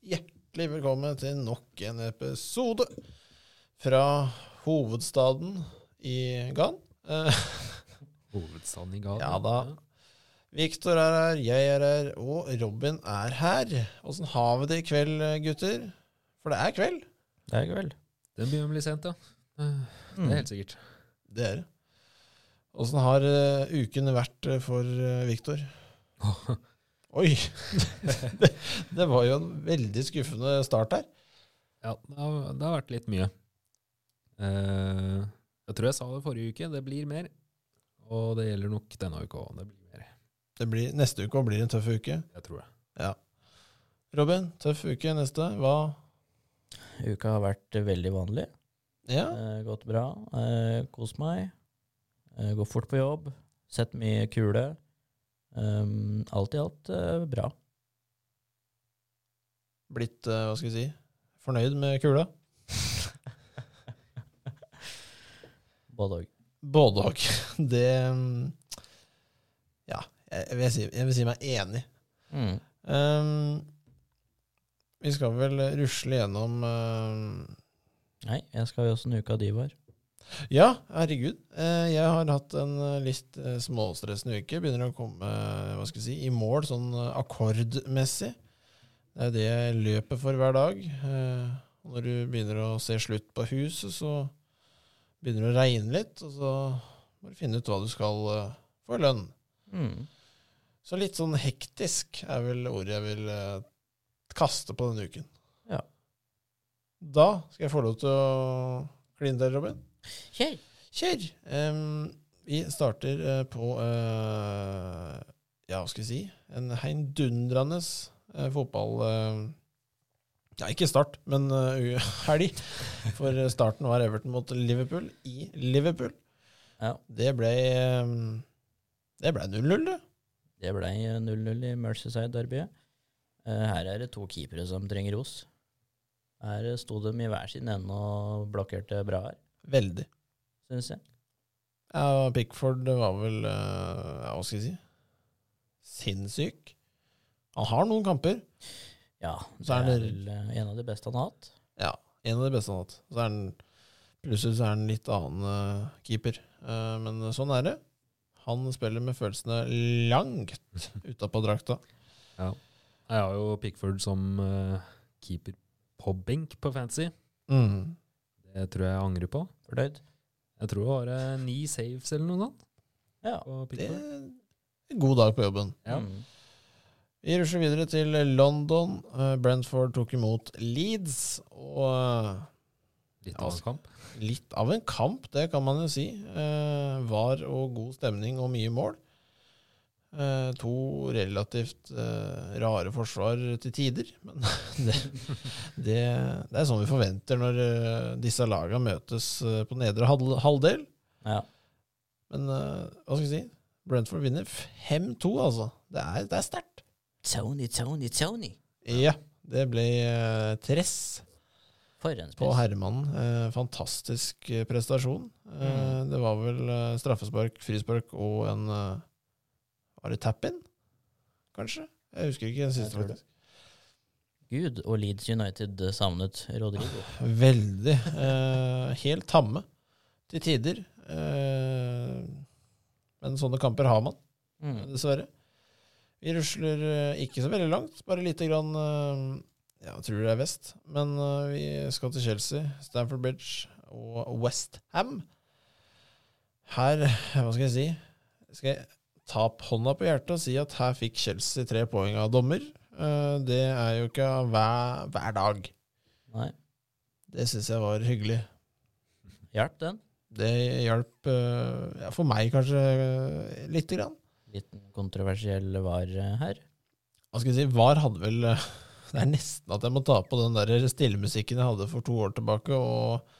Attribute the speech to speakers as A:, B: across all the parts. A: Hjertelig velkommen til nok en episode fra hovedstaden i Gan. Eh,
B: Hovedstaden i gaten.
A: Ja da. Victor er her, jeg er her, og Robin er her. Åssen har vi det i kveld, gutter? For det er kveld.
C: Det er kveld.
B: Den begynner å bli sent, ja. Eh, Det
A: Mm.
B: er helt sikkert.
A: Det er det. Åssen har eh, uken vært eh, for eh, Victor? Oi! det, det var jo en veldig skuffende start her.
B: Ja, det har, det har vært litt mye. Eh, jeg tror jeg sa det forrige uke, det blir mer. Og det gjelder nok denne uka òg. Det blir mer.
A: Det blir, neste uke blir en tøff uke.
B: Jeg tror det.
A: Robin, tøff uke neste. Hva
C: Uka har vært eh, veldig vanlig.
A: Ja,
C: Eh, gått bra. Eh, Kost meg. Eh, Går fort på jobb. Sett mye kule. Um, alt i alt eh, bra.
A: blitt, eh, hva skal vi si, fornøyd med kula?
C: Både òg.
A: Både og. Det mm, Ja, jeg vil si, jeg vil si meg enig. Ehm, vi skal vel rusle gjennom ehm,
C: Nei, jeg skal jo åssen uka di var.
A: Ja, herregud. Eh, jeg har hatt en eh, litt eh, småstressende uke. Begynner å komme eh, hva skal jeg si, i mål sånn eh, akkordmessig. Det er det jeg løper for hver dag. Eh, og når du begynner å se slutt på huset, så begynner det å regne litt, og så må du finne ut hva du skal eh, få i lønn. Så litt sånn hektisk er vel ordet jeg vil eh, kaste på denne uken.
C: Ja.
A: Da skal jeg få lov til å kline til, Robin.
C: Kjell.
A: Kjør! Em, vi starter eh, på eh, Ja, hva skal vi si? En heidundrende eh, fotball... eh, ja, ikke start, men eh, helg. For starten var Everton mot Liverpool i Liverpool.
C: Ja.
A: Det ble em, Det ble 0-0, det.
C: Det ble 0-0 i Mercyside-derbyet. Eh, her er det to keepere som trenger ros. Her eh, sto de i hver sin ende og blokkerte bra her,
A: Veldig.
C: syns jeg.
A: Ja, Pickford var vel eh, ja, Hva skal jeg si? Sinnssyk. Han har noen kamper.
C: Ja, det
A: Så er
C: er
A: det-
C: vel eh, en av de beste han har hatt.
A: En av de beste han har hatt. Så er han Plutselig så er han litt annen eh, keeper. Eh, men sånn er det. Han spiller med følelsene langt utapå drakta.
B: Jeg har jo Pickford som eh, keeper på benk på fantasy.
A: Mm.
B: Det tror jeg jeg angrer på.
C: Fornøyd?
B: Jeg tror det var eh, ni saves eller noe sånt
C: Ja.
B: på
A: Det
B: Pickford.
A: er en god dag på jobben.
B: Ja.
C: Mm.
A: Vi rusler videre til London. Eh, Brentford tok imot Leeds. Og eh,
B: Litt av en kamp.
A: litt av en kamp, det kan man jo si. Eh, var og god stemning og mye mål. Eh, to relativt eh, rare forsvar til tider, men det, det, det er sånn vi forventer når eh, disse laga møtes eh, på nedre hal- halvdel.
C: ja.
A: Men eh, hva skal jeg si? Brentford vinner 5-2, altså. Det er, det er sterkt.
C: Tony, Tony, Tony.
A: Ja. Det ble eh, tress.
C: For en
A: på
C: spiss.
A: Hermannen. Eh, fantastisk eh, prestasjon. Eh,
C: Mm.
A: Det var vel eh, straffespark, frispark og en eh, Var det tap-in, kanskje? Jeg husker ikke den
C: Jeg
A: siste.
C: tror
A: faktisk.
C: Gud og Leeds United eh, savnet Rodrigo.
A: Veldig. Eh, helt tamme til tider. Eh, men sånne kamper har man,
C: Mm.
A: dessverre. Vi rusler eh, ikke så veldig langt, bare lite grann eh, ja, Jeg tror det er vest. Men eh, vi skal til Chelsea, Stamford Bridge og West Ham. Her, hva skal jeg si Skal jeg ta opp hånda på hjertet og si at her fikk Chelsea tre poeng av dommer. Eh, Det er jo ikke hver, hver dag.
C: Nei.
A: Det syns jeg var hyggelig.
C: Hjalp den.
A: Det hjalp eh, ja, for meg kanskje eh, lite grann.
C: Liten kontroversiell var eh, her.
A: Hva skal jeg si, VAR hadde vel Det er nesten at jeg må ta på den der stillemusikken jeg hadde for to år tilbake, og,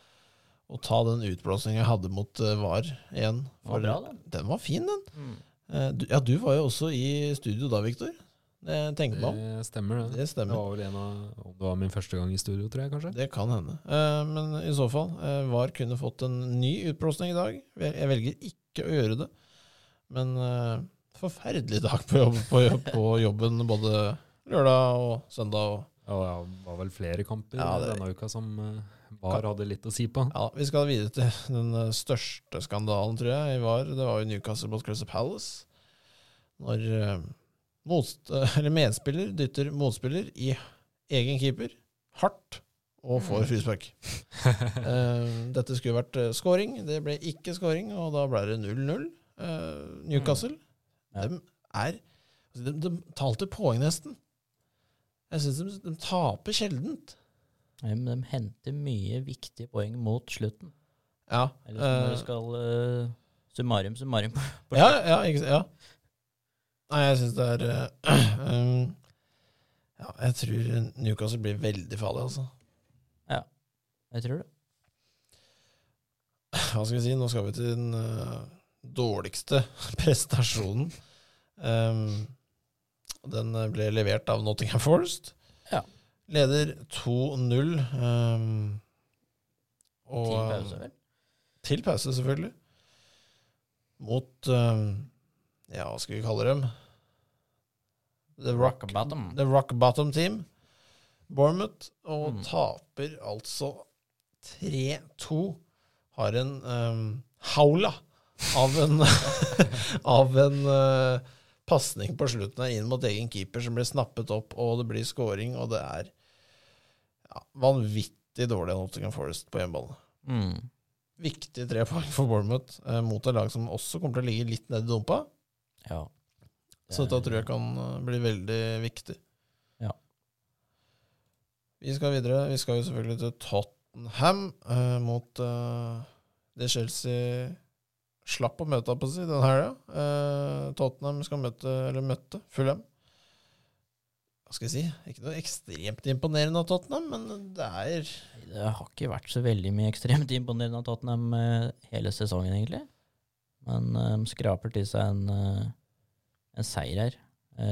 A: og ta den utblåsninga jeg hadde mot eh, VAR igjen.
C: Det var bra, da.
A: Den var fin, den.
C: Mm.
A: Eh, Du, ja, du var jo også i studio da, Viktor. Det tenker man.
B: Det stemmer,
C: Eh,
B: det.
A: Det
B: Det
A: stemmer.
B: var vel en av Om det var min første gang i studio, tror jeg kanskje.
A: Det kan hende. Eh, Men i så fall, eh, VAR kunne fått en ny utblåsning i dag. Vel, Jeg velger ikke å gjøre det. Men eh, forferdelig dag på, jobb, på, jobb, på jobben både lørdag og søndag og
B: Ja, Ja, det var vel flere kamper
A: Ja, det-
B: denne uka som eh, VAR hadde litt å si på.
A: Ja, Vi skal videre til den eh, største skandalen, tror jeg, i VAR. Det var jo Newcastle mot Crystal Palace. Når eh, motst eller medspiller dytter motspiller i egen keeper hardt og
C: Mm.
A: får frispark. Eh, dette skulle vært eh, scoring, det ble ikke scoring, og da ble det 0-0. Eh, Newcastle
C: Mm. Ja.
A: de er altså, de, de talte poeng, nesten. Jeg syns de, de taper sjeldent.
C: Ja, men de henter mye viktige poeng mot slutten.
A: Ja,
C: Eller som når
A: eh,
C: du skal eh, Summarium, summarium.
A: ja, ja, ikke, ja. Nei, jeg syns det er eh, um, Ja, jeg tror Newcastle blir veldig farlig, altså.
C: Jeg tror det.
A: hva skal jeg si, nå skal vi til den eh, dårligste prestasjonen. Ehm, den eh, ble levert av Nottingham Forest.
C: Ja.
A: Leder 2-0. ehm, og,
C: Til pause, vel.
A: Til pause, selvfølgelig. Mot ehm, Ja, hva skal vi kalle dem? The Rock,
C: Rock bottom.
A: The rock bottom Team. Bournemouth. Og
C: Mm.
A: taper altså 3-2. Har en ehm, haula av en, av en eh, pasning på slutten her inn mot egen keeper som blir snappet opp, og det blir scoring, og det er ja, vanvittig dårlig av Nottingham Forest på hjemmebane.
C: Mm.
A: Viktige tre poeng for Bournemouth eh, mot et lag som også kommer til å ligge litt ned i dumpa.
C: Ja.
A: Så dette tror jeg kan eh, bli veldig viktig.
C: Ja.
A: Vi skal videre. Vi skal jo selvfølgelig til Tottenham eh, mot eh, det Chelsea slapp å møte, på å si, den helga. Eh, Tottenham skal møte, eller møtte, Fulham. Hva skal jeg si? Ikke noe ekstremt imponerende av Tottenham, men det er
C: Det har ikke vært så veldig mye ekstremt imponerende av Tottenham eh, hele sesongen, egentlig. Men eh, de skraper til seg en, eh, en seier her.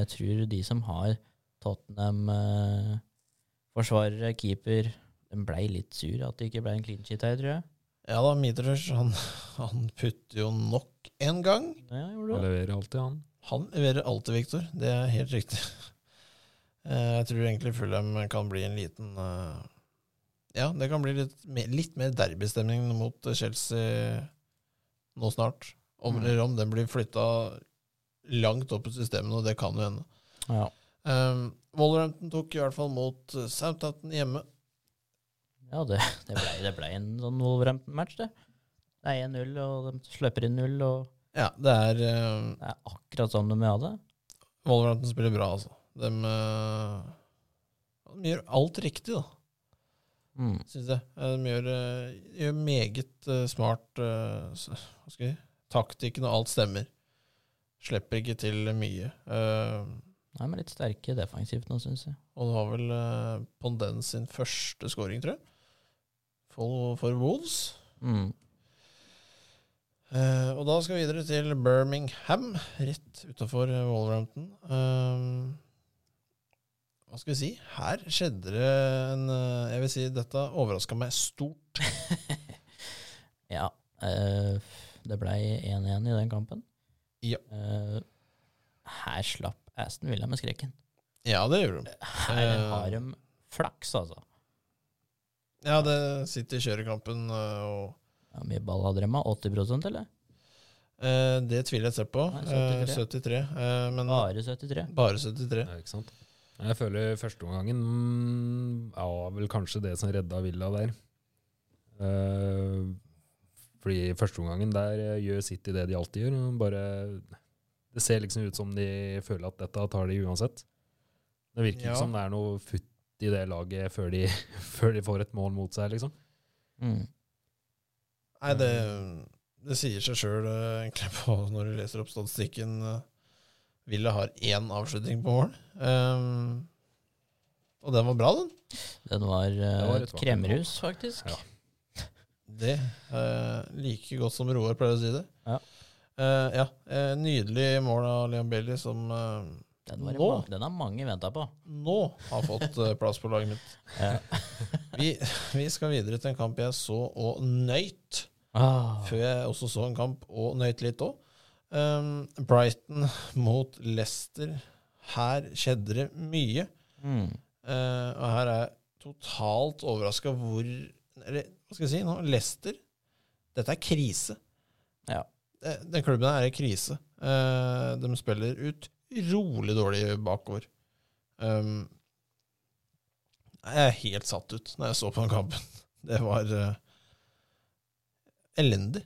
C: Jeg tror de som har Tottenham-forsvarere, keeper De blei litt sur at det ikke ble en clean sheet her, tror jeg.
A: Ja da, Mitrovic, han, han putter jo nok en gang.
C: Ja,
B: Han
C: gjorde det.
B: leverer alltid, han.
A: Han leverer alltid, Viktor. Det er helt riktig. Eh, Jeg tror egentlig Fulham kan bli en liten eh, Ja, det kan bli litt, me- litt mer derbystemning mot eh, Chelsea nå snart. Om,
C: Mm.
A: eller om den blir flytta langt opp i systemet, og det kan jo hende.
C: Ja.
A: Um, Wolverhampton tok i hvert fall mot eh, Southampton hjemme.
C: Ja, det, det blei det ble en sånn Wolverhampton-match, det. Det er 1-0, og de slipper inn 0, og
A: Ja, det er eh,
C: det er akkurat sånn de vil ha det.
A: Wolverhampton spiller bra, altså. De, eh, de gjør alt riktig, da.
C: Mm.
A: syns jeg. Eh, De gjør, eh, gjør meget eh, smart eh, s- Hva skal jeg si? Taktikken og alt stemmer. Slipper ikke til mye. Eh,
C: Nei, men litt sterke defensivt nå, syns jeg.
A: Og det var vel eh, Ponden sin første scoring, tror jeg. For, for Wolves.
C: Mm.
A: Eh, og da skal vi videre til Birmingham, rett utafor Wolverhampton. Eh, hva skal vi si? Her skjedde det en eh, Jeg vil si dette overraska meg stort.
C: Ja. eh, det blei 1-1 i den kampen.
A: Ja.
C: Eh, her slapp Aston Villa med skrekken.
A: Ja, det gjorde de.
C: Her
A: Eh.
C: har de flaks, altså.
A: Ja, det City kjører kampen, øh, og
C: Hvor mye ball hadde de? da? 80 eller?
A: eh, det tviler jeg selv på.
C: Nei, Ah,
A: Eh,
C: 73.
A: 73. eh, men bare,
C: Bare 73.
A: 73.
B: Ja, ikke sant? Jeg føler førsteomgangen mm, ja, var vel kanskje det som redda Villa der. Eh, fordi i førsteomgangen der eh, gjør City det de alltid gjør. og Bare, det ser liksom ut som de føler at dette tar de uansett. Det virker
A: Ja.
B: ikke som det er noe futt i det laget før de, før de får et mål mot seg, liksom.
C: Mm.
A: Nei, det, det sier seg sjøl egentlig på når du leser opp statistikken. eh, Villa har én avslutning på mål. Ehm, og den var bra, den.
C: Den var, eh,
B: var et
C: et
B: vakkert
C: kremmerhus, faktisk.
B: Ja.
A: Det eh, like godt som Roar pleier å si det.
C: Ja.
A: Eh, ja eh, nydelig mål av Leon Bailey, som eh,
C: Den, var det
A: Nå?
C: ma- den har mange venta på.
A: nå har fått eh, plass på laget mitt.
C: Ja.
A: Vi, vi skal videre til en kamp jeg så og nøyt,
C: Ah.
A: før jeg også så en kamp og nøyt litt Um, òg. Brighton mot Leicester. Her skjedde det mye.
C: Mm.
A: Eh, Eh, og her er jeg totalt overraska hvor Eller hva skal jeg si nå? Leicester. Dette er krise.
C: Ja.
A: Eh, Den klubben her er i krise. Eh, de spiller utrolig dårlig bakover. Um, jeg er helt satt ut når jeg så på den kampen. Det var eh, elendig.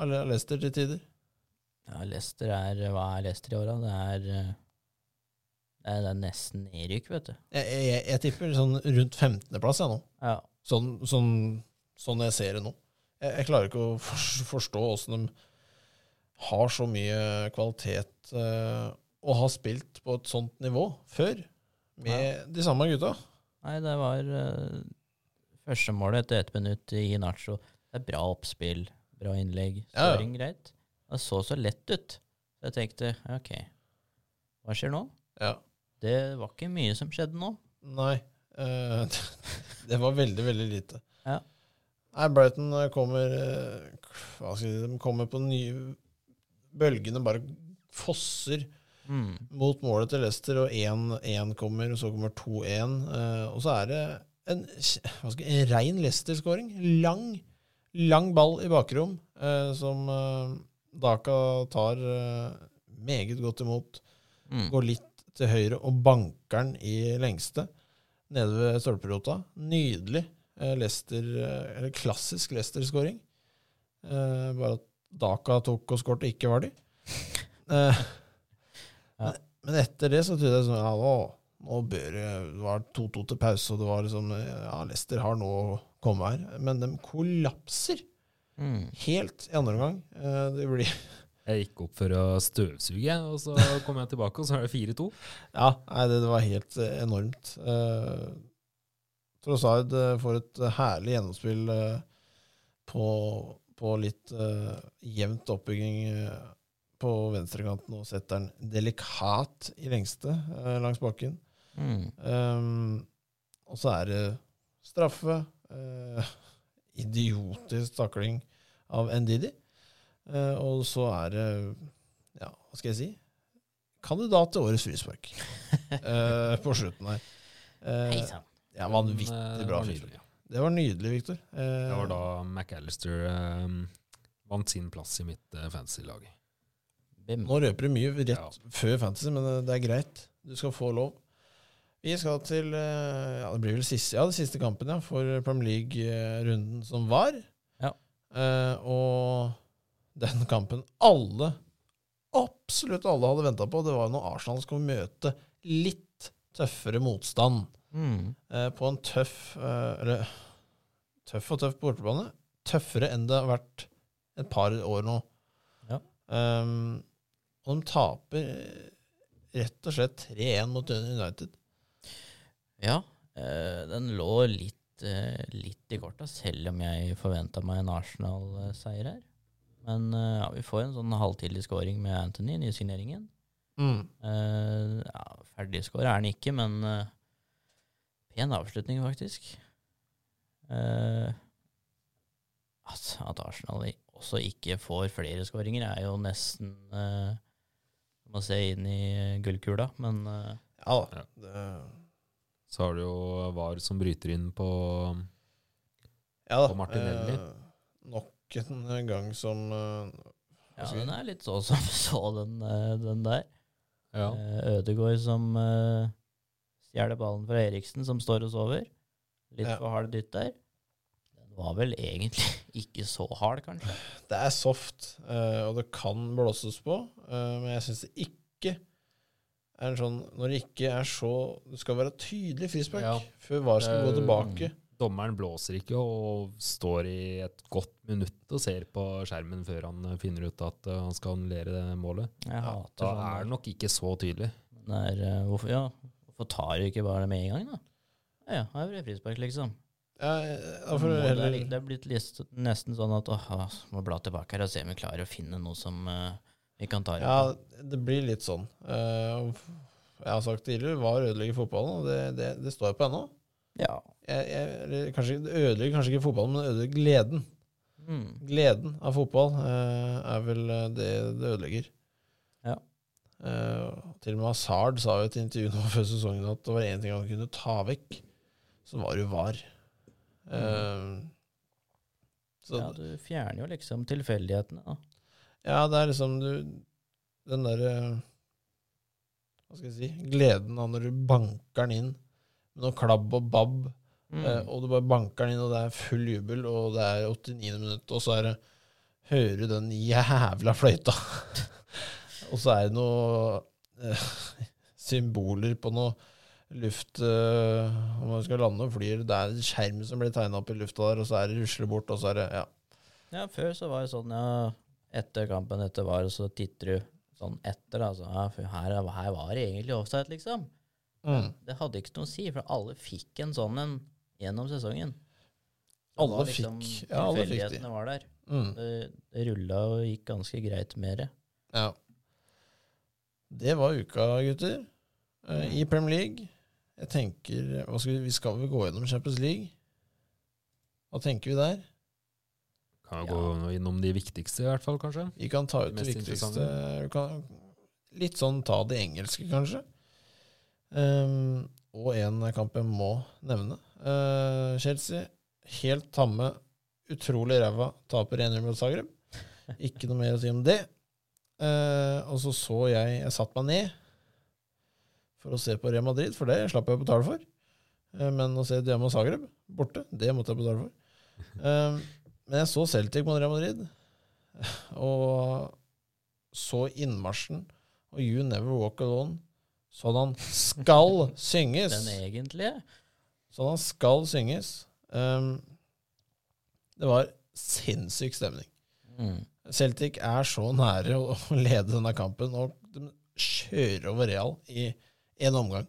A: Alle Leicester til tider.
C: Ja, Leicester er Hva er Leicester i år, da? Det er eh, Det er, det er nesten nedrykk, vet du.
A: Jeg, jeg, jeg tipper sånn rundt 15.-plass jeg nå.
C: Ja.
A: Sånn, sånn, sånn jeg ser det nå. Jeg, jeg klarer ikke å for- forstå åssen de har så mye kvalitet eh, og har spilt på et sånt nivå før med de samme gutta.
C: Nei, det var eh, første målet etter ett minutt i Nacho. Det er bra oppspill, bra innlegg,
A: Ja, ja.
C: skåring, greit. Det så så lett ut. Så jeg tenkte ja, OK, hva skjer nå?
A: Ja.
C: Det var ikke mye som skjedde nå.
A: Nei. eh, det var veldig, veldig lite.
C: Ja.
A: Nei, Brighton eh, kommer eh, Hva skal jeg si De kommer på nye Bølgene bare fosser
C: Mm.
A: mot målet til Leicester, og 1-1 kommer, og så kommer 2-1. eh, og så er det en, kj- hva skal, jeg- en rein Leicester-skåring. Lang, lang ball i bakrom, eh, som eh, Daka tar eh, meget godt imot.
C: Mm.
A: Går litt til høyre og banker den i lengste, nede ved stolperota. Nydelig eh, Leicester, eh, eller klassisk Leicester-skåring. Eh, bare at Daka tok og skårte, ikke var de. Eh, men etter det så trodde jeg sånn ja, nå, nå bør det Det var 2-2 til pause, og det var liksom Ja, Leicester har nå å komme her. Men de kollapser
C: Mm.
A: helt i andre omgang. Eh, Det blir
B: Jeg gikk opp for å støvsuge, jeg, og så kom jeg tilbake, og så er det 4-2.
A: Ja, nei, det, det var helt eh, enormt. Eh, Trossard eh, får et herlig gjennomspill eh, på, på litt eh, jevnt oppbygging eh, på venstrekanten, og setter den delikat i lengste eh, langs bakken.
C: Mm.
A: Ehm, og så er det straffe. eh, idiotisk takling av Ndidi. Eh, og så er det Ja, hva skal jeg si? Kandidat til årets frispark eh, på slutten her. Eh,
C: Hei sann.
A: ja, vanvittig bra
B: eh, Det var
A: frispark.
B: nydelig, ja.
A: Det var nydelig, Victor. Eh,
B: Det var da McAllister eh, vant sin plass i mitt eh, fantasy-lag.
C: Bim.
A: Nå røper du mye rett
B: Mm. Ja.
A: før Fantasy, men eh, det er greit. Du skal få lov. Vi skal til eh, ja, det blir vel siste, ja, det siste kampen ja, for Premier League-runden som var.
C: Ja.
A: Eh, og den kampen alle, absolutt alle, hadde venta på, det var når Arsenal skulle møte litt tøffere motstand
C: Mm.
A: eh, på en tøff eh, Eller tøff og tøff på bortebane. Tøffere enn det har vært et par år nå.
C: Ja.
A: Ehm, og de taper eh, rett og slett 3-1 mot United.
C: Ja, eh, den lå litt, eh, litt i korta, selv om jeg forventa meg en Arsenal-seier her. Men eh, ja, vi får en sånn halvtidlig scoring med Anthony, nysigneringen.
B: Mm.
C: Uh, ja, ferdig scorer er han ikke, men eh, pen avslutning, faktisk. Eh, altså, at Arsenal i- også ikke får flere skåringer, er jo nesten eh, Må se inn i gullkula, men eh,
A: Ja da.
B: Ja.
A: Det,
B: Så har du jo VAR som bryter inn på
A: ja da.
B: Og Martinelli.
A: Eh, nok en gang som eh,
C: ja,
A: Hva sier
C: den
A: du?
C: er litt så som så, den, eh, den der.
B: Ja.
C: Eh, Ødegård som eh, stjeler ballen fra Eriksen, som står og sover. Litt
A: Ja.
C: for hard dytt der. Den var vel egentlig ikke så hard, kanskje.
A: Det er soft, eh, og det kan blåses på, eh, men jeg syns det ikke er en sånn Når det ikke er så Det skal være tydelig frispark
B: Ja.
A: før VAR skal gå
B: Eh,
A: tilbake.
B: Dommeren blåser ikke og står i et godt minutt og ser på skjermen før han eh, finner ut at eh, han skal annullere det målet.
C: Jeg hater
B: Da
C: sånn.
B: er det nok ikke så tydelig.
C: Det er, eh, hvorfor, ja, hvorfor tar du ikke bare det med en gang, da? Ja, ja, her blir det frispark, liksom.
A: Ja, da
C: Nå
A: får du
C: må Det
A: heller
C: er li- det er blitt listet, nesten sånn at åh, ah, må bla tilbake her og se om vi klarer å finne noe som eh, vi kan ta det
A: Ja,
C: på.
A: det blir litt sånn. Eh, og f- jeg har sagt tidligere, VAR ødelegger fotballen, og det, det, det står jeg på ennå.
C: Ja.
A: Jeg, jeg, eller kanskje, det ødelegger kanskje ikke fotballen, men det ødelegger gleden.
C: Mm.
A: Gleden av fotball eh, er vel eh, det det ødelegger.
C: Ja.
A: Eh, til og med Hazard sa jo i et intervju nå før sesongen at det var én ting han kunne ta vekk, så var det jo VAR. Eh, så
C: Mm. Ja, du fjerner jo liksom tilfeldighetene, da.
A: Ja, det er liksom du Den derre Hva skal jeg si Gleden av når du banker den inn med noe klabb og babb,
C: Mm.
A: eh, og du bare banker den inn, og det er full jubel, og det er 89. minutt, og så er det Hører du den jævla fløyta? og så er det noe eh, symboler på noe luft eh, Om man skal lande og flyr, det er en skjerm som blir tegna opp i lufta der, og så er det rusler bort, og så er det Ja.
C: Ja, før så var det sånn, ja, etter kampen etter var, så titter du sånn etter, altså, ja, for her, er- her var det egentlig offside, liksom.
A: Mm.
C: Det hadde ikke noe å si, for alle fikk en sånn en gjennom sesongen. Det
A: Alle
C: var liksom
A: fikk- ja, alle fikk de.
C: tilfeldighetene var der.
A: Mm.
C: Det, det rulla og gikk ganske greit med det.
A: Ja. Det var uka, gutter. Eh, I Premier League. Jeg tenker hva skal vi, vi skal vel gå gjennom Champions League? Hva tenker vi der?
B: Kan
C: Ja.
B: jo gå innom de viktigste, i hvert fall, kanskje.
A: Vi kan ta ut
B: Det
A: det,
B: mest
A: viktigste vi kan, Litt sånn ta det engelske, kanskje. Ehm, og en kamp jeg må nevne. Eh, Chelsea, helt tamme, utrolig ræva, taper 1-0 mot Zagreb. Ikke noe mer å si om det. Eh, og så så jeg Jeg satte meg ned for å se på Real Madrid, for det slapp jeg å betale for. Eh, men å se Diamo Zagreb borte, det måtte jeg betale for. Ehm, men jeg så Celtic mot Real Madrid. Og så innmarsjen og You Never Walk Alone sånn han skal synges.
C: Den egentlige
A: Sånn han skal synges. Um, det var sinnssyk stemning.
C: mm.
A: Celtic er så nære å å lede denne kampen, og de kjører over Real i én omgang.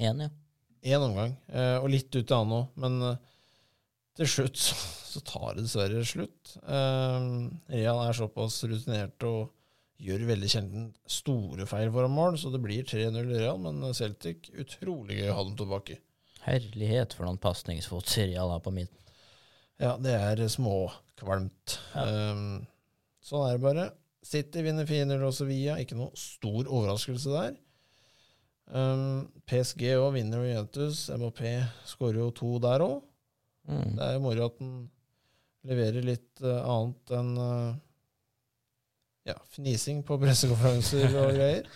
C: Enig.
A: Én omgang, eh, og litt ut i annen òg, men eh, til slutt så, så tar det dessverre slutt. Eh, Real er såpass rutinert og gjør veldig sjelden store feil foran mål, så det blir 3-0 Real, men Celtic utrolig gøy å ha dem tilbake.
C: Herlighet for noen pasningsfot Serial har på midten.
A: Ja, det er småkvalmt.
C: Ja.
A: Eh, sånn er det bare. City vinner 4-0 og Sevilla, ikke noe stor overraskelse der. Eh, PSG òg vinner jo Juventus. MOP skårer jo to der òg.
C: Mm.
A: Det er jo moro at den leverer litt eh, annet enn eh, ja, fnising på pressekonferanser og greier.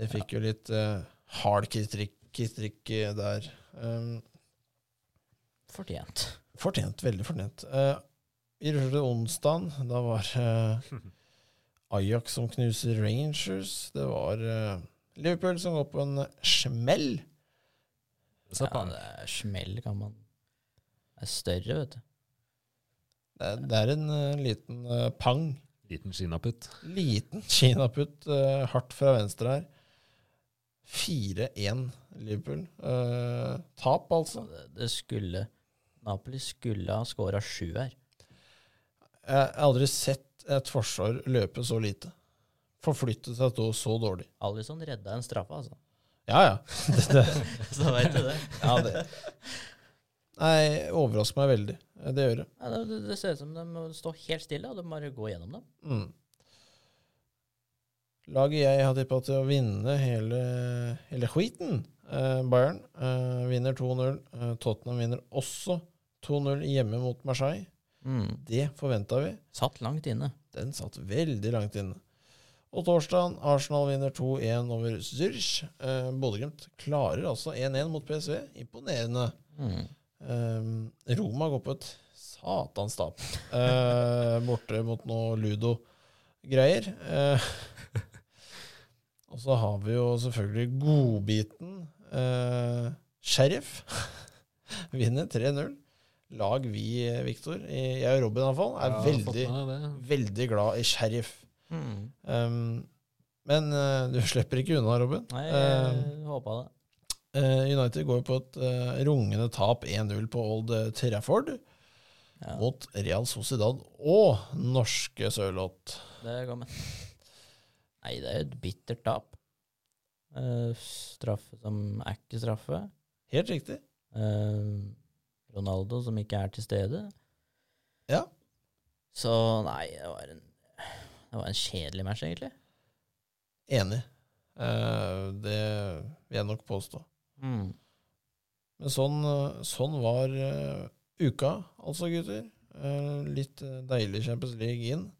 A: Det fikk jo litt eh, hard kritikk, kritikk eh, der. Um,
C: Fortjent.
A: fortjent, veldig fortjent. Eh, I ruller til onsdagen, da var eh, Ajax som knuser Rangers. Det var eh, Liverpool som går på en smell.
B: Så
C: Ja,
B: faen.
C: det er smell, kan man Det er større, vet du.
A: Det er, det er en eh, liten eh, pang.
B: Liten kinaputt.
A: Liten kinaputt, eh, hardt fra venstre her. 4-1 Liverpool. Eh, tap, altså.
C: Det, det skulle Napoli skulle ha skåra sju her.
A: Jeg har aldri sett et forsvar løpe så lite. Forflytte seg så- så dårlig.
C: Alison redda en straffe, altså.
A: Ja, ja. Det, det,
C: Så vet du det.
A: ja det. Nei, overrasker meg veldig. Eh, Det gjør det.
C: Ja, det, det ser ut som de må stå helt stille, og de bare gå gjennom dem.
A: Mm. Laget jeg har tippa til å vinne hele, hele skiten, eh, Bayern, eh, vinner 2-0. Eh, Tottenham vinner også 2-0 hjemme mot Marseille.
C: Mm.
A: Det forventa vi.
C: Satt langt inne.
A: Den satt veldig langt inne. Og torsdagen, Arsenal vinner 2-1 over Zürich. Eh, Bodø-Glimt klarer altså 1-1 mot PSV. Imponerende.
C: Mm.
A: Ehm, Roma går på et satans tap eh, borte mot noe ludo-greier. Eh, og så har vi jo selvfølgelig godbiten eh, Sheriff. Vinner 3-0. Lag vi, eh, Victor, i- jeg og Robin iallfall, er
B: Ja,
A: veldig,
B: fått med det.
A: veldig glad i Sheriff.
C: Mm.
A: Ehm, men eh, du slipper ikke unna, Robin.
C: Nei, jeg
A: Ehm,
C: håpa det.
A: Eh, United går på et eh, rungende tap 1-0 på Old Trafford
C: Ja,
A: mot Real Sociedad og norske Sørloth.
C: det kommer. Nei, det er jo et bittert tap. Eh, straffe som er ikke straffe.
A: Helt riktig.
C: Eh, Ronaldo som ikke er til stede.
A: Ja.
C: Så nei, det var en, det var en kjedelig match, egentlig.
A: Enig. Eh, det vil jeg nok påstå.
C: Mm.
A: Men sånn, eh, sånn var eh, uka, altså, gutter. Eh, litt eh, deilig Champions League inn.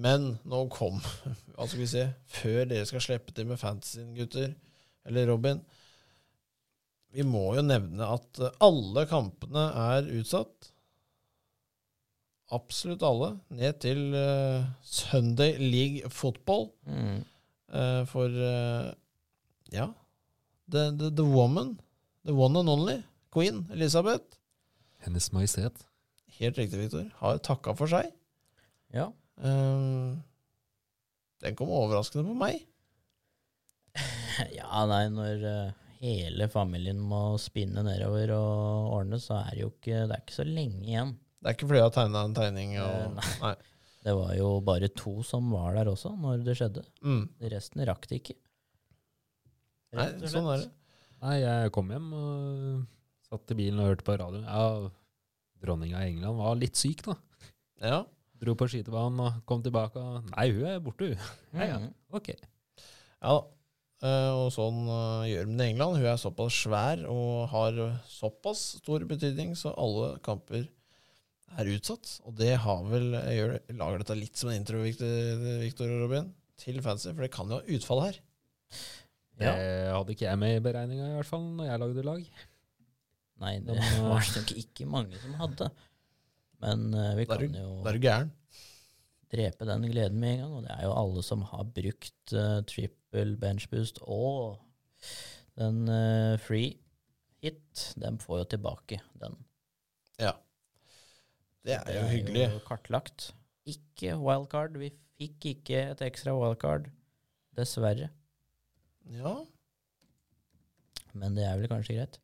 A: Men nå kom Hva skal vi si? Før dere skal slippe til med fantasyen, gutter, eller Robin Vi må jo nevne at eh, alle kampene er utsatt. Absolutt alle. Ned til eh, Sunday League Football.
C: Mm.
A: Eh, for eh, ja the, the, the woman, the one and only, queen Elisabeth,
B: Hennes Majestet.
A: helt riktig, Victor, har takka for seg.
C: Ja.
A: Eh, den kom overraskende på meg.
C: ja, nei, når eh, hele familien må spinne nedover og ordne, så er det jo ikke, det er ikke så lenge igjen.
A: Det er ikke fordi jeg har tegna en tegning.
C: Eh,
A: Og, nei.
C: Det var jo bare to som var der også når det skjedde.
A: Mm.
C: Resten rakk det ikke.
A: nei,
C: Rett og slett.
A: sånn er det.
B: Nei, jeg kom hjem og satt i bilen og hørte på radioen. Ja, dronninga i England var litt syk, da.
A: Ja.
B: Dro på skytebanen og kom tilbake. og Nei, hun er borte, hun. Ja, ja.
C: Mm.
B: Ok.
A: ja da. Eh, og sånn eh, gjør de det i England. Hun er såpass svær og har såpass stor betydning, så alle kamper er utsatt. Og det har vel Jeg gjør, jeg lager dette litt som en intro, Victor, Victor og Robin, til fancy, for det kan jo ha utfall her.
B: Det
C: Ja.
B: hadde ikke jeg med i beregninga, i hvert fall, når jeg lagde lag.
C: Nei, det
B: Men, eh,
C: var det nok ikke mange som hadde. Men eh, vi
A: Da er
C: kan
A: du-
C: jo
A: Da er du gæren.
C: drepe den gleden med en gang, og det er jo alle som har brukt eh, triple bench boost og den eh, free hit, den får jo tilbake den.
A: Det er jo hyggelig.
C: jo kartlagt. Ikke wildcard. Vi fikk ikke et ekstra wildcard, dessverre.
A: Ja.
C: Men det er vel kanskje greit.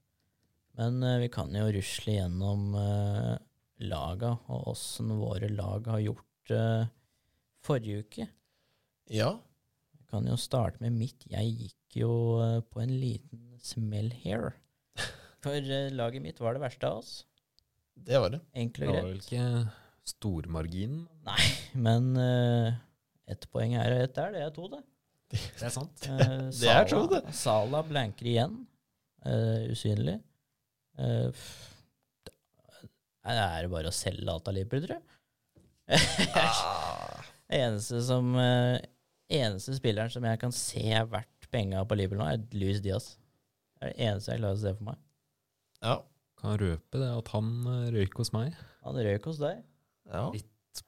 C: Men eh, vi kan jo rusle gjennom uh, laga og åssen våre lag har gjort eh, forrige uke.
A: Ja.
C: Jeg kan jo starte med mitt. Jeg gikk jo eh, på en liten smell here. For eh, laget mitt var det verste av oss.
A: Det var det.
C: Enkelt
B: Det
C: og
B: var vel
C: greit.
B: ikke stormarginen.
C: Men uh, ett poeng her og ett der, det er to, det.
B: Det er sant.
C: Eh,
A: Det er to,
C: Salah- Salah blanker igjen. Eh, usynlig. Eh, pff, det er det bare å selge alt av Liverpool, tror jeg. Ah. eneste, som, eh, eneste spilleren som jeg kan se er verdt penga på Liverpool nå, er Luis Diaz. Det er det eneste jeg klarer å se for meg.
A: Ja.
B: Kan røpe det at han eh, røyk hos meg.
C: Han røyk hos deg.
A: ja.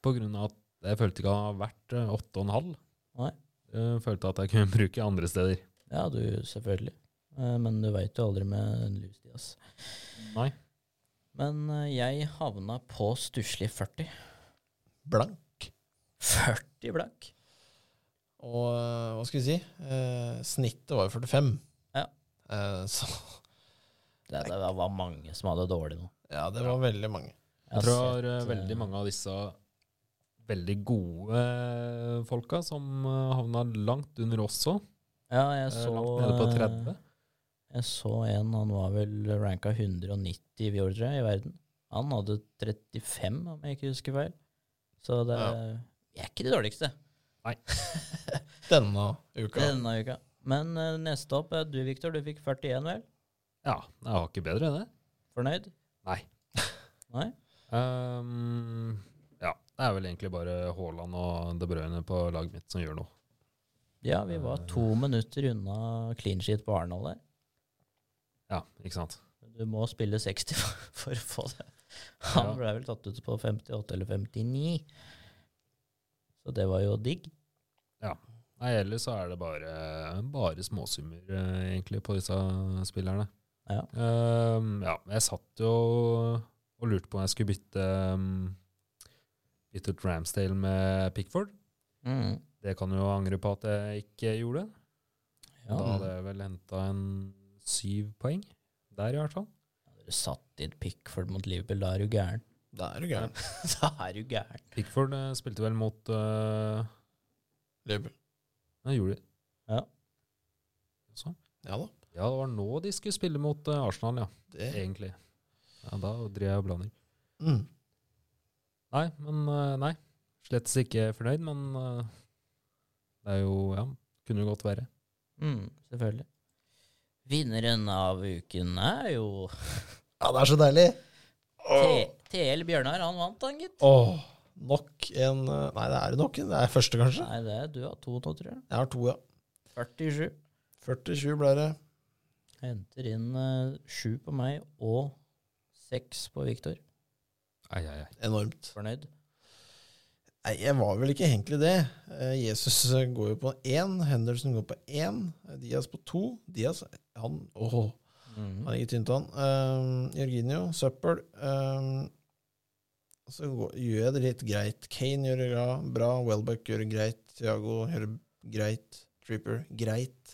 B: På grunn av at jeg følte ikke han var verdt eh, åtte og en halv.
C: Nei.
B: Jeg følte at jeg kunne bruke andre steder.
C: Ja, du, selvfølgelig. Eh, men du veit jo aldri med Luis Diaz.
B: Nei.
C: Men eh, jeg havna på stusslig 40.
A: Blank.
C: 40 blank.
A: Og eh, hva skal vi si? Eh, snittet var jo 45.
C: Ja.
A: Eh, så
C: Det, det var mange som hadde det dårlig nå.
A: ja, det var veldig mange.
B: Jeg tror jeg har
C: har
B: eh,
C: sett, eh,
B: veldig mange av disse veldig gode eh, folka som eh, havna langt under oss òg.
C: Ja, jeg
B: eh,
C: så, eh,
B: Langt nede på 30.
C: jeg så en, han var vel ranka 190 i år, tror jeg, i verden. Han hadde 35, om jeg ikke husker feil. Så det er, vi er ikke det dårligste
A: Denne uka.
C: denne uka. Men eh, neste opp er du, Viktor. Du fikk 41, vel?
B: Ja, jeg var ikke bedre enn det.
C: Fornøyd?
B: Nei.
C: Nei?
B: Ehm, ja, det er vel egentlig bare Haaland og De Bruyne på laget mitt som gjør noe.
C: Ja, vi var to minutter unna clean sheet på Arendal der.
B: Ja, ikke sant?
C: Du må spille 60 for, for å få det. Han
B: Ja.
C: ble vel tatt ut på 58 eller 59. Så det var jo digg.
B: Nei, ellers så er det bare, bare småsummer, eh, egentlig, på disse spillerne.
C: Ja.
B: Ehm, ja, jeg satt jo og lurte på om jeg skulle bytte um, bytte ut Ramsdale med Pickford.
C: Mm.
B: Det kan jo angre på at jeg ikke gjorde. Da
C: Ja.
B: hadde jeg vel henta en syv poeng der, i hvert fall.
C: Hadde du satt inn Pickford mot Liverpool, da er du gæren.
A: Da er du gæren.
C: da er du gæren.
B: Pickford eh, spilte vel mot eh,
A: Liverpool.
B: Nei, gjorde de.
C: Ja.
B: Sånn.
A: Ja da.
B: Ja, det var nå de skulle spille mot eh, Arsenal, ja.
A: Det.
B: Egentlig. Ja, da driver jeg og blander.
A: Mm.
B: Nei, men eh, nei. Slettes ikke fornøyd, men eh, det er jo Ja. Kunne jo godt være.
C: Mm, selvfølgelig. Vinneren av uken er jo
A: Ja, det er så deilig!
C: T TL Bjørnar. Han vant, han, gitt.
A: Åh, nok en eh, Nei, det er nok en. Det er første, kanskje.
C: Nei, det er du har to nå, tror jeg.
A: Jeg har to, ja.
C: 47.
A: 47 ble det.
C: Henter inn eh, sju på meg og seks på Viktor.
B: Ai, ai, ai.
A: Enormt.
C: Fornøyd.
A: Nei, jeg var vel ikke egentlig det. Eh, Jesus eh, går jo på én, Henderson går på én, eh, Diaz på to. Diaz, han åh,
B: Mhm.
A: han ligger tynt an. Eh, Jorginho, søppel. Eh, så går, gjør jeg det litt greit. Kane gjør det bra, bra. Welbeck gjør det greit. Thiago gjør det greit. Tripper, greit.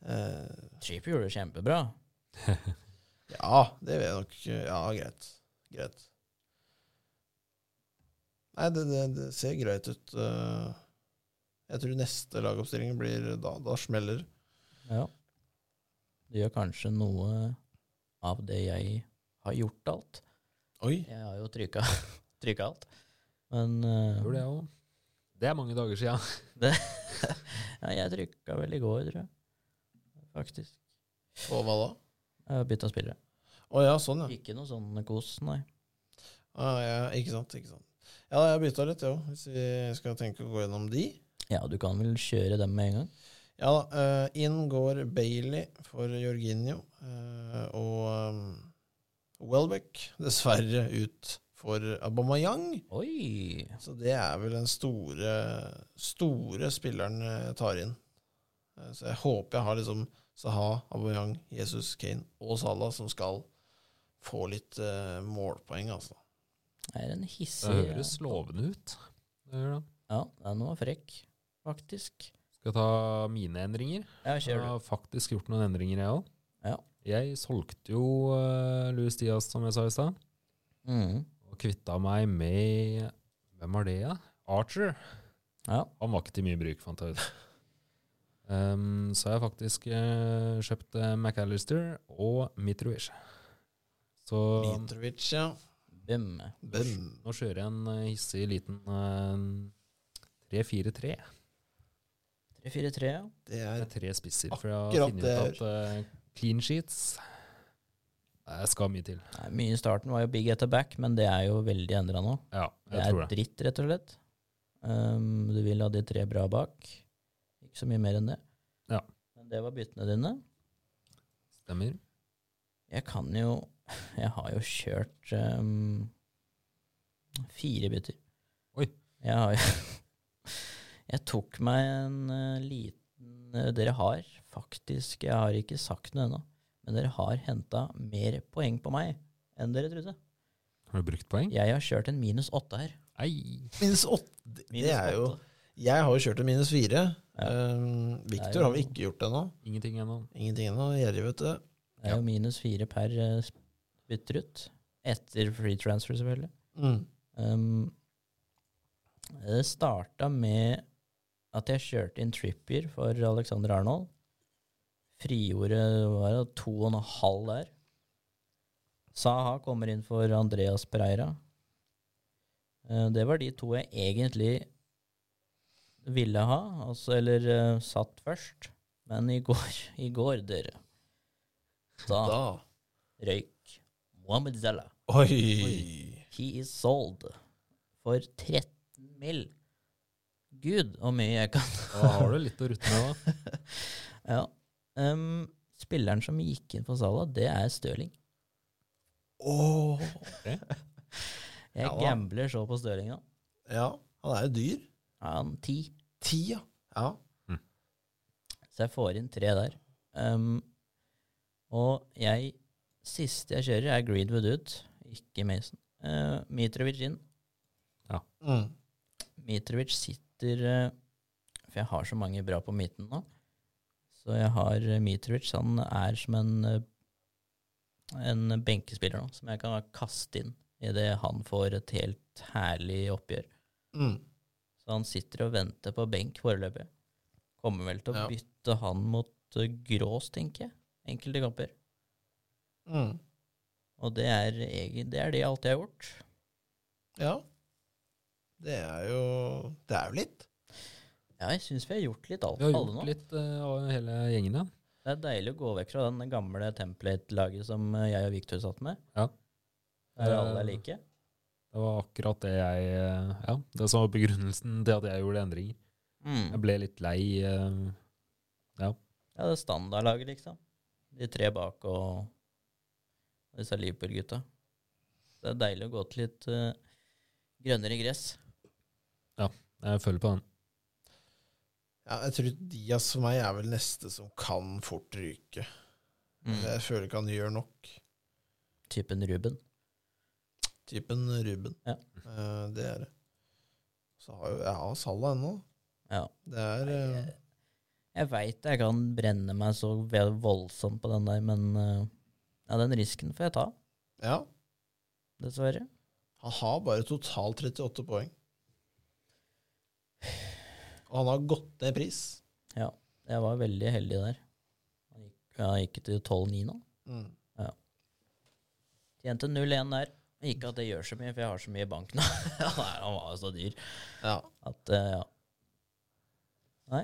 A: Eh,
C: Tripper gjorde det kjempebra.
A: Ja, det vil jeg nok Ja, greit. Greit. Nei, det, det, det ser greit ut. eh. Jeg tror neste lagoppstilling blir Da, da smeller det.
C: Ja. Det gjør kanskje noe av det jeg har gjort alt.
A: Oi!
C: Jeg har jo trykka, trykka alt. Men eh,
B: Gjorde det, jeg også. det er mange dager sia.
C: ja, jeg trykka vel i går, tror jeg. Faktisk.
A: Og hva da?
C: Jeg har bytta spillere.
A: Å ja, sånn, ja.
C: Ikke noe sånn kos, nei.
A: Ah, ja. Ikke sant. ikke sant Ja, jeg har bytta litt, jeg òg, hvis vi skal tenke å gå gjennom de.
C: Ja, du kan vel kjøre dem med en gang?
A: Ja da. eh, inn går Bailey for Jorginho. eh, og eh, Welbeck, dessverre, ut for Aubameyang.
C: Oi!
A: Så det er vel den store, store spilleren jeg tar inn. Eh, Så jeg håper jeg har liksom Saha, Aubameyang, Jesus, Kane og Salah som skal få litt eh, målpoeng, altså.
C: Det er en
B: Det
C: hissig
B: høres lovende ut. Det gjør det.
C: Ja, den var frekk, faktisk.
B: Skal ta mine endringer.
C: Ja,
B: Jeg
C: kjør du.
B: har faktisk gjort noen endringer, jeg òg.
C: Ja.
B: Jeg solgte jo uh, Louis Diaz, som jeg sa i stad,
C: Mm.
B: og kvitta meg med Hvem var det, da? Archer.
C: Ja.
B: Han var ikke til mye bruk, fant jeg ut. Um, så har jeg faktisk eh, kjøpt eh, McAllister og Mitrovic. Så
A: Mitrovic, ja.
C: Bum.
A: Bøm.
B: nå kjører jeg en eh, hissig liten eh, 3-4-3.
C: 3-4-3, ja.
A: Det
B: Det
A: er
B: er tre spisser. For jeg har
A: Akkurat
B: funnet
A: det
B: ut at eh, clean sheets Det skal mye til.
C: Nei, Mye i starten var jo big etter back, men det er jo veldig endra nå.
B: Ja,
C: Det
B: jeg
C: er
B: tror det.
C: dritt, rett og slett. Um, du vil ha de tre bra bak. Ikke så mye mer enn det.
B: Ja.
C: Men det var byttene dine.
B: Stemmer.
C: Jeg kan jo Jeg har jo kjørt um, fire bytter.
B: Oi.
C: Jeg har jo Jeg tok meg en eh, liten eh, Dere har faktisk Jeg har ikke sagt noe ennå, men dere har henta mer poeng på meg enn dere trodde.
B: Har du brukt poeng?
C: Jeg har kjørt en minus åtte her.
B: Nei.
A: Minus åtte. Det-
C: Minus
A: det er jo
C: åtte.
A: Jeg har jo kjørt en minus fire.
C: Ja.
A: Um,
C: Det er jo-
A: Victor har vi ikke gjort ennå.
B: Ingenting ennå.
A: Ingenting ennå. Gjerrig, vet du.
C: Det er jo minus fire per eh, sp- bytter ut. Etter free transfer, selvfølgelig.
A: Mm.
C: Um, det starta med at jeg kjørte inn Trippier for Alexander Arnold. Frigjorde var det to og en halv der. Saha kommer inn for Andreas Pereira. Eh, Det var de to jeg egentlig ville ha, altså, eller eh, satt først. Men i går, i går, dere Da
A: Da
C: røyk Mohammed Salah.
A: Oi!
C: He is sold for 13 mill. Gud, hvor mye jeg kan.
B: Da har du litt å rutte med, da.
C: Ja. Ehm, spilleren som gikk inn for Salah, det er Støling.
A: Åh.
C: Jeg
A: Ja da.
C: gambler så på Støling nå.
A: Ja, han er jo dyr.
C: Er han ti?
A: Ti, ja. ja.
C: Så jeg får inn tre der. Ehm, og jeg Siste jeg kjører, er Greenwood ut, ikke Mason. Eh, Mitrovic inn.
A: Mm.
C: Mitrovic sitter eh, For jeg har så mange bra på midten nå. Så jeg har eh, Mitrovic. Han er som en eh, en benkespiller nå, som jeg kan kaste inn idet han får et helt herlig oppgjør.
A: Mm.
C: Så han sitter og venter på benk foreløpig. Kommer vel til å
A: Ja.
C: bytte han mot eh, Grås, tenker jeg, enkelte kamper.
A: Mm.
C: Og det er, egen- det er det alt jeg har gjort.
A: Ja. Det er jo Det er jo litt.
C: Ja, jeg syns vi har gjort litt alt,
B: Vi har
C: alle nå.
B: gjort litt eh, av hele gjengen, ja.
C: Det er deilig å gå vekk fra den gamle template-laget som eh, jeg og Victor satt med.
B: Ja.
C: Der alle
B: Eh,
C: er like.
B: Det var akkurat det jeg eh, Ja, det som var begrunnelsen til at jeg gjorde endringer. Jeg
C: Mm.
B: ble litt lei. eh,
C: Ja, det er standardlaget, liksom. De tre bak og disse Liverpool-gutta. Det er deilig å gå til litt eh, grønnere gress.
B: Jeg føler på den.
A: Ja, jeg tror Diaz for meg er vel neste som kan fort ryke.
C: Mm.
A: Jeg føler ikke han gjør nok.
C: Typen Ruben.
A: Typen Ruben.
C: Ja.
A: Eh, det er det. Så har jo jeg har Salah ennå.
C: Ja.
A: Det er eh,
C: Jeg, jeg veit jeg kan brenne meg så ve- voldsomt på den der, men eh, ja, den risken får jeg ta,
A: Ja.
C: dessverre.
A: Han har bare totalt 38 poeng. Og han har gått ned i pris.
C: Jeg var veldig heldig der. Han gikk, han gikk til 12-9 nå.
A: Mm.
C: Tjente 0-1 der. Ikke at det gjør så mye, for jeg har så mye i banken. Nei, han var jo så dyr
A: Ja.
C: at eh, ja. Nei,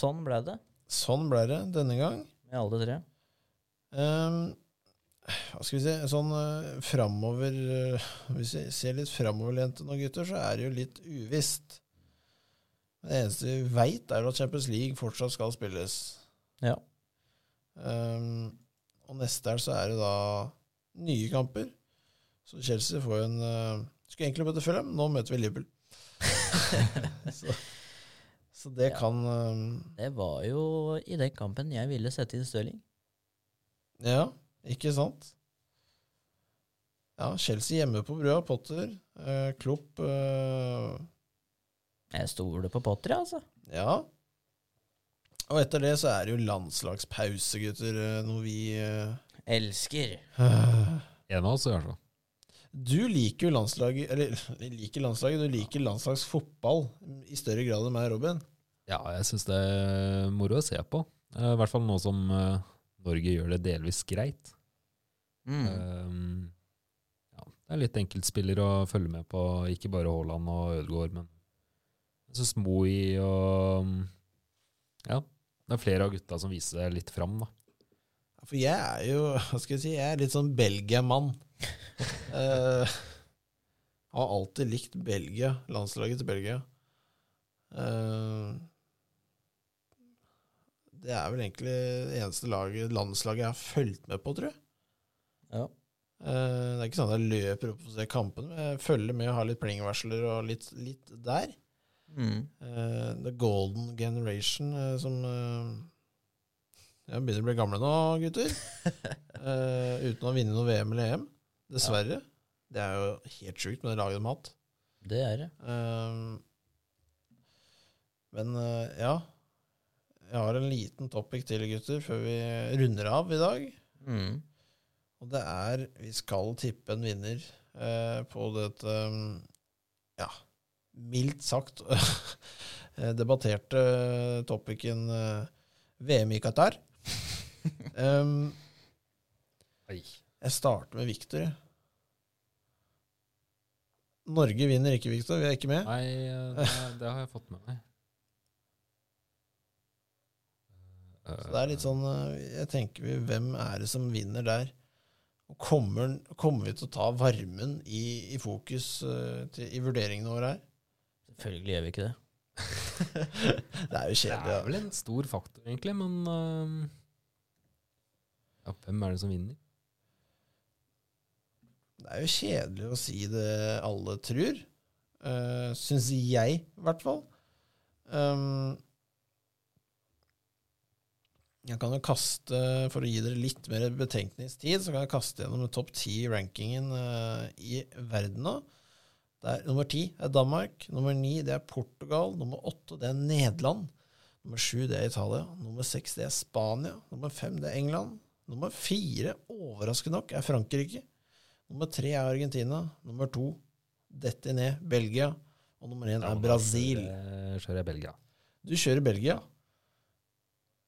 C: sånn ble det
A: Sånn ble det denne gang.
C: med alle tre.
A: Ehm, hva skal vi si Sånn uh, framover eh, Hvis vi ser litt framoverlente nå, gutter, så er det jo litt uvisst. Det eneste vi veit, er jo at Champions League fortsatt skal spilles.
C: Ja.
A: Ehm, og neste helg så er det da nye kamper. Så Chelsea får jo en eh, Skulle egentlig møte Fulham, nå møter vi Liverpool. så, så det
C: Ja.
A: kan ehm,
C: Det var jo i den kampen jeg ville sette inn Stirling.
A: Ja, ikke sant? Ja, Chelsea hjemme på brua, Potter, eh, Klopp eh,
C: Jeg stoler på Potter, jeg, altså.
A: Ja. Og etter det så er det jo landslagspause, gutter, eh, når vi eh,
C: Elsker.
B: En av oss, i hvert fall.
A: Du liker jo landslaget Eller liker landslaget, du liker landslagsfotball i større grad enn meg, Robin.
B: Ja, jeg syns det er moro å se på. Eh, I hvert fall nå som eh, Norge gjør det delvis greit.
C: Mm.
B: Um, ja, det er litt enkeltspiller å følge med på, ikke bare Haaland og Ødegaard, men jeg syns Moi og um, Ja, det er flere av gutta som viser seg litt fram, da.
A: For jeg er jo hva skal jeg si, jeg er litt sånn Belgia-mann. Eh, har alltid likt Belgia, landslaget til Belgia. Eh, det er vel egentlig det eneste laget, landslaget jeg har fulgt med på, tror jeg.
C: Ja.
A: Eh, det er ikke sånn at jeg løper opp og ser kampene, men jeg følger med og har litt plingvarsler og litt, litt der.
C: Mm.
A: Eh, the Golden Generation, eh, som eh, ja, begynner å bli gamle nå, gutter. Eh, uten å vinne noe VM eller EM. Dessverre. Det er jo helt sjukt med det laget de har hatt.
C: Det er det.
A: Eh, men eh, ja Jeg har en liten topic til, gutter, før vi runder av i dag.
C: Mm.
A: Og det er Vi skal tippe en vinner eh, på dette mm, Ja, mildt sagt eh, debatterte topicen eh, VM i Qatar. Em, jeg starter med Victor. jeg. Norge vinner ikke, Victor. Vi er ikke med.
B: Nei, eh, det, det har jeg fått med meg.
A: Så det er litt sånn eh, Jeg tenker vi, hvem er det som vinner der? Og kommer, kommer vi til å ta varmen i, i fokus eh, til, i vurderingene våre her?
C: Selvfølgelig gjør vi ikke det.
A: Det er jo
B: Eh, Det
A: kjedelig.
B: er
A: da.
B: vel en stor faktor, egentlig, men um, ja, Hvem er det som vinner?
A: Det er jo kjedelig å si det alle tror. Uh, Syns jeg, i hvert fall. Um, jeg kan jo kaste, For å gi dere litt mer betenkningstid, så kan jeg kaste gjennom topp ti-rankingen eh, i verden nå. Det er Nummer ti er Danmark. Nummer ni det er Portugal. Nummer åtte det er Nederland. Nummer sju det er Italia. Nummer seks det er Spania. Nummer fem det er England. Nummer fire, overraskende nok, er Frankrike. Nummer tre er Argentina. Nummer to detter ned Belgia. Og nummer én
B: Ja,
A: er
B: men da
A: Brasil.
B: kjører jeg- Kjører jeg Belgia.
A: Du kjører Belgia.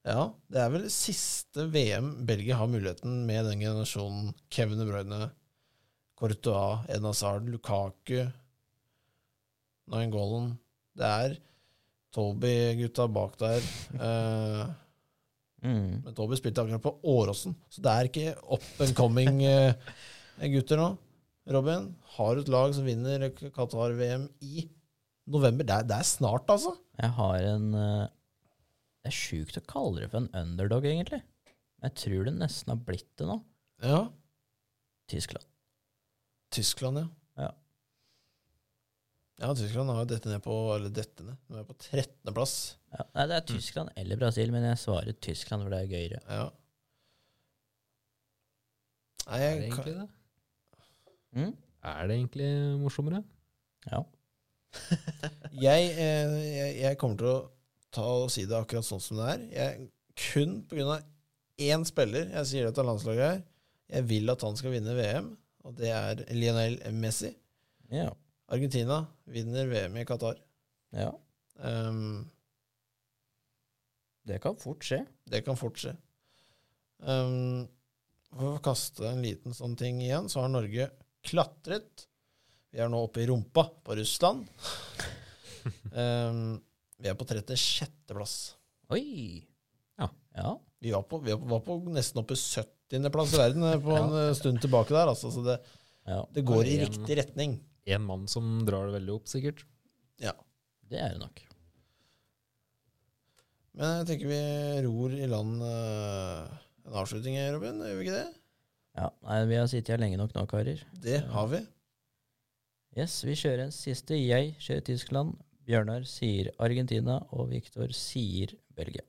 A: Ja, det er vel siste VM Belgia har muligheten med den generasjonen. Kevin De Bruyne, Courtois, Edna Sard, Lukaku, Nainggolan. Det er Toby-gutta bak der. Eh,
C: Mm.
A: men Toby spilte akkurat på Åråsen, så det er ikke up and coming eh, gutter nå. Robin har et lag som vinner Qatar-VM i november. Det er, det er snart, altså.
C: Jeg har en eh, Det er sjukt å kalle det for en underdog, egentlig. Men jeg tror det nesten har blitt det nå.
A: Ja.
C: Tyskland.
A: Tyskland, ja.
C: Ja.
A: Ja, Tyskland har jo dette ned på Eller dette ned. De er på 13.-plass.
C: Ja, nei, det er Tyskland eller Brasil, men jeg svarer Tyskland, for det er gøyere.
A: Ja. Nei,
B: Er det
A: jeg,
B: egentlig
A: kan-
B: det?
C: Mm?
B: Er det egentlig morsommere?
C: Ja.
A: jeg, eh, jeg, jeg kommer til å ta og si det akkurat sånn som det er. Jeg, kun pga. én spiller jeg sier det til landslaget her. Jeg vil at han skal vinne VM, og det er Lionel Messi.
C: Ja.
A: Argentina vinner VM i Qatar.
C: ja.
A: Um,
C: Det kan fort skje.
A: Det kan fort skje. Um, for å kaste en liten sånn ting igjen, så har Norge klatret. Vi er nå oppe i rumpa på Russland. Um, vi er på 36.-plass.
C: Oi!
B: Ja.
C: ja.
A: Vi, var på, vi var på nesten oppe i 70.-plass i verden eh, på en eh, stund tilbake der, altså. Så det,
C: Ja,
A: det går i
B: Ja, det er en-
A: riktig retning.
B: En mann som drar det veldig opp, sikkert.
C: det er det nok.
A: Men jeg tenker vi ror i land eh, en avslutning, Robin. Gjør vi ikke det?
C: Ja, nei, Vi har sittet her lenge nok nå, karer.
A: Det har vi.
C: Yes, Vi kjører en siste. Jeg kjører Tyskland. Bjørnar sier Argentina, og Viktor sier Belgia.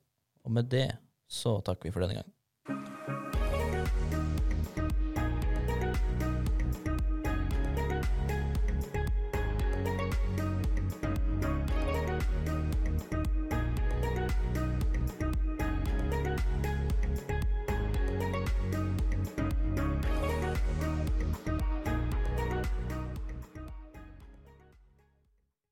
C: Og med det så takker vi for denne gang.